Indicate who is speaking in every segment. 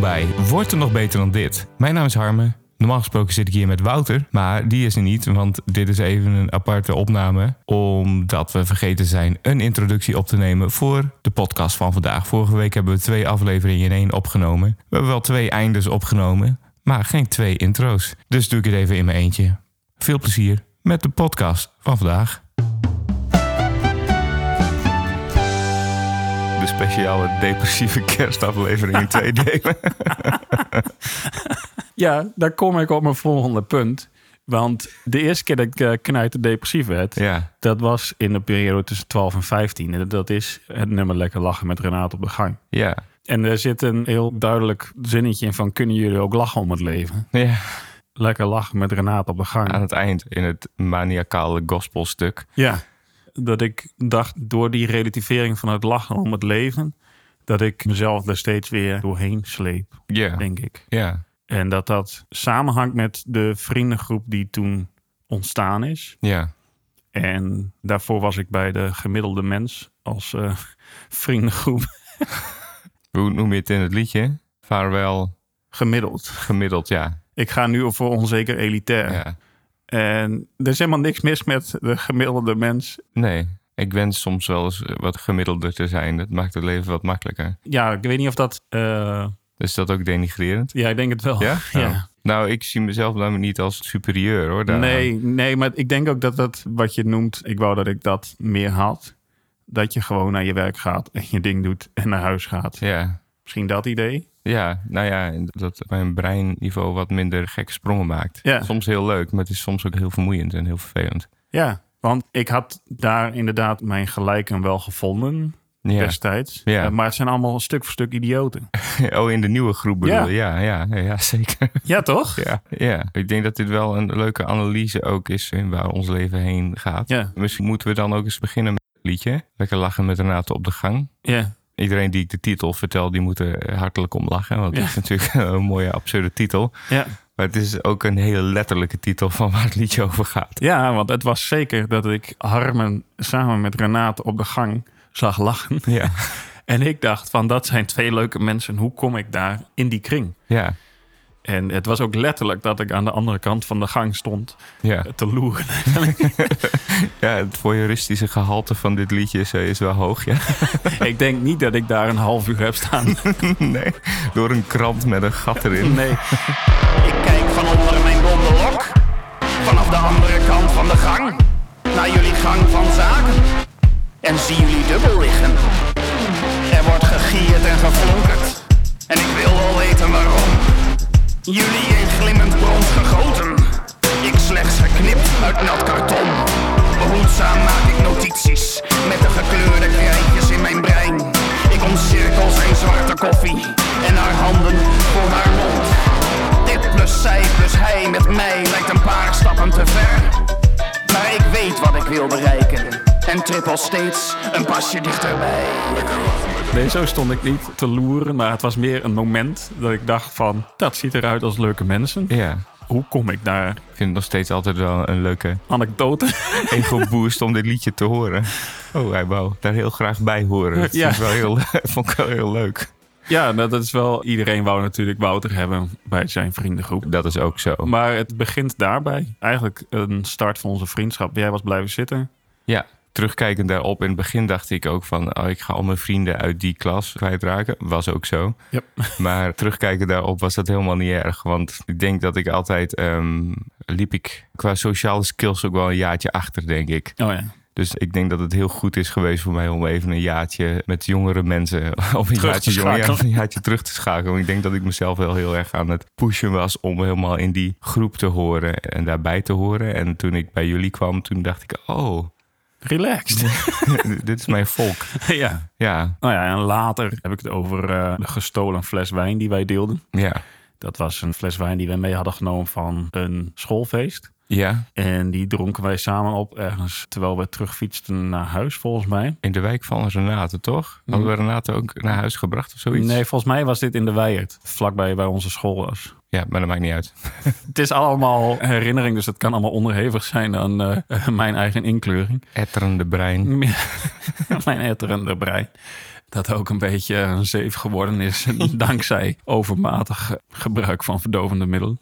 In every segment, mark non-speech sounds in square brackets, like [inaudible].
Speaker 1: bij Wordt er nog beter dan dit? Mijn naam is Harme. Normaal gesproken zit ik hier met Wouter, maar die is er niet, want dit is even een aparte opname. Omdat we vergeten zijn een introductie op te nemen voor de podcast van vandaag. Vorige week hebben we twee afleveringen in één opgenomen. We hebben wel twee eindes opgenomen, maar geen twee intro's. Dus doe ik het even in mijn eentje. Veel plezier met de podcast van vandaag. De speciale depressieve kerstaflevering in [laughs] twee delen.
Speaker 2: Ja, daar kom ik op mijn volgende punt. Want de eerste keer dat ik eh, knijter depressief werd,
Speaker 1: Ja,
Speaker 2: dat was in de periode tussen 12 en 15. En dat is het nummer Lekker Lachen met Renaat op de gang.
Speaker 1: ja,
Speaker 2: En er zit een heel duidelijk zinnetje in van kunnen jullie ook lachen om het leven?
Speaker 1: ja.
Speaker 2: Lekker lachen met Renaat op de gang.
Speaker 1: Aan het eind in het maniacale gospelstuk.
Speaker 2: Ja, dat ik dacht door die relativering van het lachen om het leven, dat ik mezelf er steeds weer doorheen sleep,
Speaker 1: Ja,
Speaker 2: denk ik.
Speaker 1: ja,
Speaker 2: En dat dat samenhangt met de vriendengroep die toen ontstaan is.
Speaker 1: ja,
Speaker 2: En daarvoor was ik bij de gemiddelde mens als eh, [laughs] vriendengroep
Speaker 1: Hoe noem je het in het liedje? Vaarwel
Speaker 2: gemiddeld.
Speaker 1: gemiddeld, ja.
Speaker 2: Ik ga nu voor onzeker elitair.
Speaker 1: ja.
Speaker 2: En er is helemaal niks mis met de gemiddelde mens.
Speaker 1: Nee, ik wens soms wel eens wat gemiddelder te zijn. Dat maakt het leven wat makkelijker.
Speaker 2: Ja, ik weet niet of dat... eh,
Speaker 1: Is dat ook denigrerend?
Speaker 2: ja, ik denk het wel.
Speaker 1: Ja?
Speaker 2: [laughs] Ja.
Speaker 1: Nou, nou, ik zie mezelf namelijk niet als superieur hoor. daaraan.
Speaker 2: Nee, nee, maar ik denk ook dat dat wat je noemt... Ik wou dat ik dat meer had. Dat je gewoon naar je werk gaat en je ding doet en naar huis gaat.
Speaker 1: Ja.
Speaker 2: Misschien dat idee?
Speaker 1: Ja, nou ja, dat mijn breinniveau wat minder gekke sprongen maakt.
Speaker 2: Ja.
Speaker 1: Soms heel leuk, maar het is soms ook heel vermoeiend en heel vervelend.
Speaker 2: Ja, want ik had daar inderdaad mijn gelijken wel gevonden.
Speaker 1: Ja.
Speaker 2: destijds.
Speaker 1: Ja.
Speaker 2: Eh, maar het zijn allemaal stuk voor stuk idioten.
Speaker 1: [laughs] Oh, in de nieuwe groep bedoel
Speaker 2: Ja.
Speaker 1: je? Ja, ja, ja, ja, zeker.
Speaker 2: ja, toch?
Speaker 1: Ja, ja, ik denk dat dit wel een leuke analyse ook is in waar ons leven heen gaat.
Speaker 2: Ja.
Speaker 1: Misschien moeten we dan ook eens beginnen met het liedje. Lekker lachen met Renate op de gang.
Speaker 2: Ja.
Speaker 1: Iedereen die ik de titel vertel, die moet er hartelijk om lachen. Want het
Speaker 2: Ja.
Speaker 1: is natuurlijk [laughs] een mooie absurde titel.
Speaker 2: Ja.
Speaker 1: Maar het is ook een hele letterlijke titel van waar het liedje over gaat.
Speaker 2: ja, want het was zeker dat ik Harmen samen met Renate op de gang zag lachen. [laughs]
Speaker 1: Ja,
Speaker 2: En ik dacht van dat zijn twee leuke mensen. Hoe kom ik daar in die kring?
Speaker 1: ja,
Speaker 2: En het was ook letterlijk dat ik aan de andere kant van de gang stond
Speaker 1: ja.
Speaker 2: eh, te loeren. [laughs]
Speaker 1: ja het voyeuristische gehalte van dit liedje is, eh, is wel hoog. Ja. [laughs]
Speaker 2: ik denk niet dat ik daar een half uur heb staan. [laughs]
Speaker 1: Nee, door een krant met een gat erin.
Speaker 2: Nee.
Speaker 3: Ik kijk van onder mijn blonde lok, vanaf de andere kant van de gang, naar jullie gang van zaken. En zie jullie dubbel liggen. Er wordt gegierd en geflonkerd. En ik wil wel weten waarom. Jullie in glimmend brons gegoten. Ik slechts geknipt uit nat karton. Behoedzaam maak ik notities met de gekleurde krijtjes in mijn brein. Ik omcirkel zijn zwarte koffie en haar handen voor haar mond. Dit plus zij plus hij met mij lijkt een paar stappen te ver. Maar ik weet wat ik wil bereiken en trip al steeds een pasje dichterbij.
Speaker 2: nee, zo stond ik niet te loeren. Maar het was meer een moment dat ik dacht van dat ziet eruit als leuke mensen.
Speaker 1: Ja,
Speaker 2: Hoe kom ik daar?
Speaker 1: ik vind het nog steeds altijd wel een leuke
Speaker 2: Anekdote.
Speaker 1: ego-boost om dit liedje te horen. Oh, hij wou daar heel graag bij horen. Dat
Speaker 2: Ja.
Speaker 1: is wel heel, [laughs] vond ik wel heel leuk.
Speaker 2: Ja, nou, dat is wel. Iedereen wou natuurlijk Wouter hebben bij zijn vriendengroep.
Speaker 1: Dat is ook zo.
Speaker 2: Maar het begint daarbij. Eigenlijk een start van onze vriendschap. Jij was blijven zitten.
Speaker 1: Ja, terugkijkend daarop, in het begin dacht ik ook van... Oh, ik ga al mijn vrienden uit die klas kwijtraken. Was ook zo. [laughs]
Speaker 2: Ja.
Speaker 1: Maar terugkijken daarop was dat helemaal niet erg. Want ik denk dat ik altijd... ehm, liep ik qua sociale skills ook wel een jaartje achter, denk ik.
Speaker 2: Oh ja.
Speaker 1: Dus ik denk dat het heel goed is geweest voor mij om even een jaartje met jongere mensen [laughs] of een,
Speaker 2: te
Speaker 1: jaartje, jonger, ja,
Speaker 2: schakelen.
Speaker 1: of [laughs] een jaartje terug te schakelen. Want ik denk dat ik mezelf wel heel erg aan het pushen was om helemaal in die groep te horen en daarbij te horen. En toen ik bij jullie kwam, toen dacht ik, oh, [laughs]
Speaker 2: Relaxed.
Speaker 1: dit is mijn volk.
Speaker 2: [laughs] ja.
Speaker 1: Ja,
Speaker 2: Nou ja, en later heb ik het over eh, de gestolen fles wijn die wij deelden.
Speaker 1: ja,
Speaker 2: Dat was een fles wijn die wij mee hadden genomen van een schoolfeest.
Speaker 1: ja.
Speaker 2: En die dronken wij samen op ergens terwijl we terugfietsten naar huis, volgens mij.
Speaker 1: In de wijk van Renate, toch? Hadden we Renate ook naar huis gebracht of zoiets?
Speaker 2: Mm. Nee, volgens mij was dit in de Weijert, vlakbij waar onze school was.
Speaker 1: Ja, maar dat maakt niet uit.
Speaker 2: Het is allemaal herinnering, dus het kan allemaal onderhevig zijn aan [laughs] eh, mijn eigen inkleuring. [laughs]
Speaker 1: Etterende brein.
Speaker 2: mijn etterende brein. dat ook een beetje een zeef geworden [laughs] is. dankzij overmatig gebruik van verdovende middelen.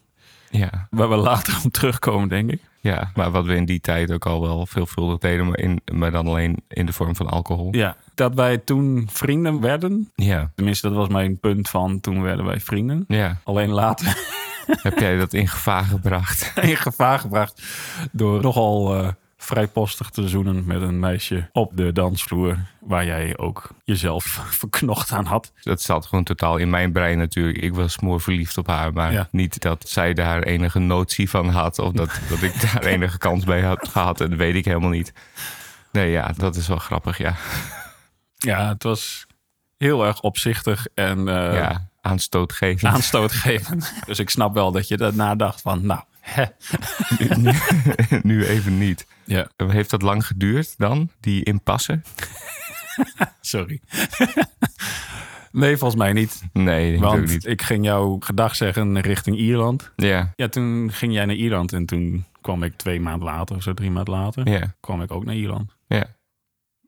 Speaker 1: Ja.
Speaker 2: Waar we later om terugkomen, denk ik.
Speaker 1: ja, maar wat we in die tijd ook al wel veelvuldig deden, maar, in, maar dan alleen in de vorm van alcohol.
Speaker 2: Ja. Dat wij toen vrienden werden.
Speaker 1: Ja.
Speaker 2: Tenminste, dat was mijn punt van toen werden wij vrienden.
Speaker 1: Ja.
Speaker 2: Alleen later
Speaker 1: Heb jij dat in gevaar gebracht? [laughs]
Speaker 2: [laughs] in gevaar gebracht door nogal eh, vrijpostig te zoenen met een meisje op de dansvloer. Waar jij ook jezelf [laughs] verknocht aan had.
Speaker 1: Dat zat gewoon totaal in mijn brein natuurlijk. Ik was smoor verliefd op haar, maar
Speaker 2: Ja.
Speaker 1: niet dat zij daar enige notie van had. Of dat, dat ik
Speaker 2: [laughs]
Speaker 1: daar enige kans bij had gehad. Dat weet ik helemaal niet. Nee, ja, dat is wel grappig, ja.
Speaker 2: Ja, het was heel erg opzichtig en eh, Ah.
Speaker 1: ja aanstootgevend.
Speaker 2: [laughs] aanstootgevend. dus ik snap wel dat je daarna dacht van, nou,
Speaker 1: [laughs]
Speaker 2: hè.
Speaker 1: [laughs] nu even niet.
Speaker 2: Ja,
Speaker 1: Heeft dat lang geduurd dan, die impasse?
Speaker 2: sorry. [laughs] nee, volgens mij niet.
Speaker 1: Nee, natuurlijk
Speaker 2: Want
Speaker 1: niet.
Speaker 2: ik ging jou gedag zeggen richting Ierland.
Speaker 1: Ja,
Speaker 2: Ja, toen ging jij naar Ierland en toen kwam ik twee maanden later of zo, drie maanden later,
Speaker 1: ja,
Speaker 2: kwam ik ook naar Ierland.
Speaker 1: ja.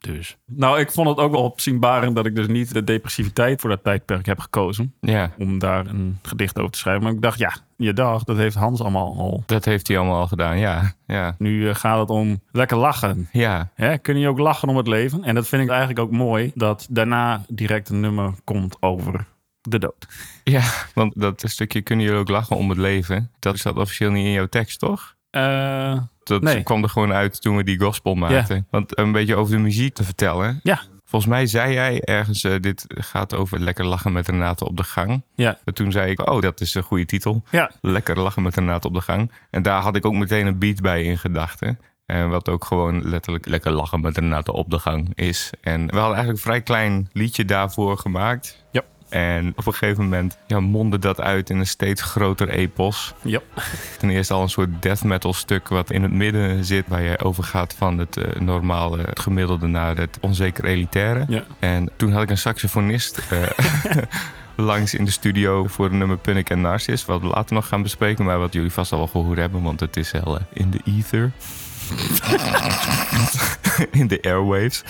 Speaker 2: Dus. Nou, ik vond het ook wel opzienbarend dat ik dus niet de depressiviteit voor dat tijdperk heb gekozen.
Speaker 1: Ja,
Speaker 2: Om daar een gedicht over te schrijven. Maar ik dacht, ja, je dag, dat heeft Hans allemaal al
Speaker 1: dat heeft hij allemaal al gedaan. Ja, ja,
Speaker 2: Nu eh, gaat het om lekker lachen.
Speaker 1: ja.
Speaker 2: Hè? Kun je ook lachen om het leven? En dat vind ik eigenlijk ook mooi, dat daarna direct een nummer komt over de dood.
Speaker 1: Ja, want dat stukje kunnen jullie ook lachen om het leven. Dat zat officieel niet in jouw tekst, toch?
Speaker 2: Eh,
Speaker 1: Dat
Speaker 2: Nee.
Speaker 1: kwam er gewoon uit toen we die gospel maakten. Want een beetje over de muziek te vertellen.
Speaker 2: ja,
Speaker 1: Volgens mij zei jij ergens, eh, dit gaat over lekker lachen met Renate op de gang.
Speaker 2: ja,
Speaker 1: Maar toen zei ik, oh, dat is een goede titel.
Speaker 2: ja.
Speaker 1: Lekker lachen met Renate op de gang. En daar had ik ook meteen een beat bij in gedachten. En wat ook gewoon letterlijk lekker lachen met Renate op de gang is. En we hadden eigenlijk een vrij klein liedje daarvoor gemaakt.
Speaker 2: Ja.
Speaker 1: En op een gegeven moment ja, mondde dat uit in een steeds groter epos.
Speaker 2: Ja,
Speaker 1: Ten eerste al een soort death metal stuk wat in het midden zit. Waar je overgaat van het eh, normale, het gemiddelde naar het onzeker elitaire.
Speaker 2: ja.
Speaker 1: En toen had ik een saxofonist eh, langs in de studio voor het nummer Punnik en Narcis. Wat we later nog gaan bespreken, maar wat jullie vast al wel gehoord hebben, want het is heel eh, in de ether. [laughs] in de airwaves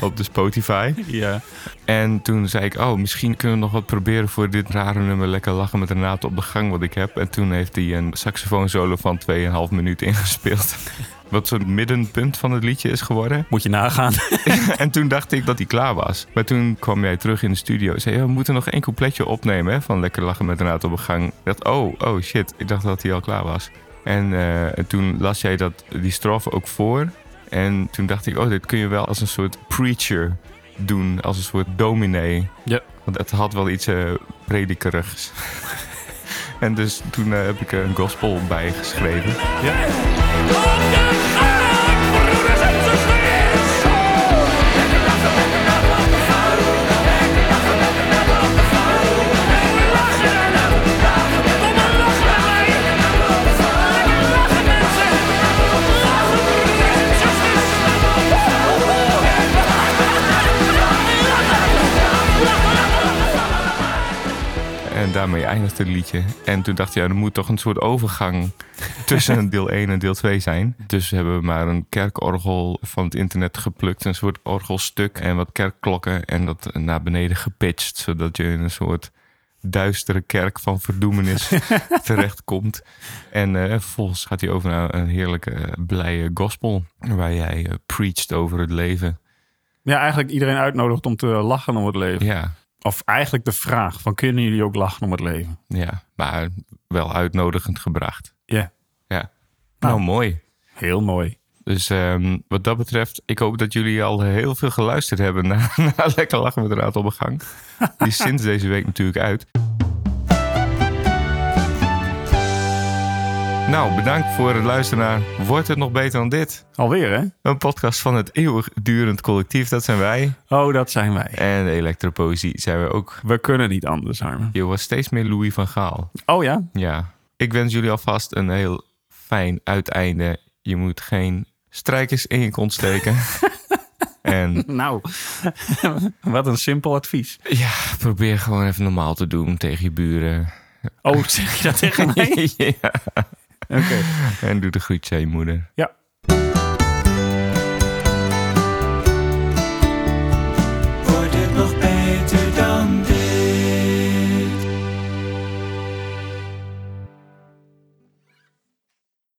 Speaker 1: op de Spotify.
Speaker 2: ja.
Speaker 1: En toen zei ik, oh, misschien kunnen we nog wat proberen voor dit rare nummer lekker lachen met Renate op de gang wat ik heb. En toen heeft hij een saxofoonsolo van 2,5 minuut ingespeeld. [laughs] Wat zo'n middenpunt van het liedje is geworden.
Speaker 2: Moet je nagaan.
Speaker 1: [laughs]
Speaker 2: [laughs]
Speaker 1: En toen dacht ik dat hij klaar was. Maar toen kwam jij terug in de studio en zei... "Ja, we moeten nog één coupletje opnemen hè, van Lekker Lachen met Renate op de gang. Ik dacht, oh, oh shit, ik dacht dat hij al klaar was. En eh, toen las jij dat, die strofe ook voor. En toen dacht ik, oh, dit kun je wel als een soort preacher doen. Als een soort dominee.
Speaker 2: Ja.
Speaker 1: Want het had wel iets eh, predikerigs. [laughs] en dus toen eh, heb ik er een gospel bij geschreven. En daarmee eindigde het liedje. En toen dacht ik, ja, er moet toch een soort overgang tussen deel 1 en deel 2 zijn. Dus hebben we maar een kerkorgel van het internet geplukt. Een soort orgelstuk en wat kerkklokken. En dat naar beneden gepitcht, zodat je in een soort duistere kerk van verdoemenis terechtkomt. En eh, vervolgens gaat hij over naar een heerlijke, eh, blije gospel. Waar jij eh, preacht over het leven.
Speaker 2: Ja, eigenlijk iedereen uitnodigt om te lachen om het leven.
Speaker 1: Ja,
Speaker 2: Of eigenlijk de vraag van, kunnen jullie ook lachen om het leven?
Speaker 1: ja, maar wel uitnodigend gebracht.
Speaker 2: Ja,
Speaker 1: Ja,
Speaker 2: Nou.
Speaker 1: nou mooi.
Speaker 2: heel mooi.
Speaker 1: Dus ehm, wat dat betreft, ik hoop dat jullie al heel veel geluisterd hebben [laughs] naar, naar Lekker Lachen met Raad op de Gang. Die is sinds deze week natuurlijk uit. Nou, bedankt voor het luisteren naar Wordt het nog beter dan dit?
Speaker 2: Alweer, hè?
Speaker 1: Een podcast van het eeuwigdurend collectief, dat zijn wij.
Speaker 2: Oh, dat zijn wij.
Speaker 1: En de elektropoëzie zijn we ook.
Speaker 2: We kunnen niet anders, Armin.
Speaker 1: Je was steeds meer Louis van Gaal.
Speaker 2: Oh ja?
Speaker 1: Ja, ik wens jullie alvast een heel fijn uiteinde. Je moet geen strijkers in je kont steken. en
Speaker 2: Nou, [laughs] wat een simpel advies.
Speaker 1: ja, probeer gewoon even normaal te doen tegen je buren.
Speaker 2: [laughs] Oh, zeg je dat tegen mij?
Speaker 1: [laughs] ja.
Speaker 2: Oké.
Speaker 1: En doe de groetje aan je moeder.
Speaker 2: Ja.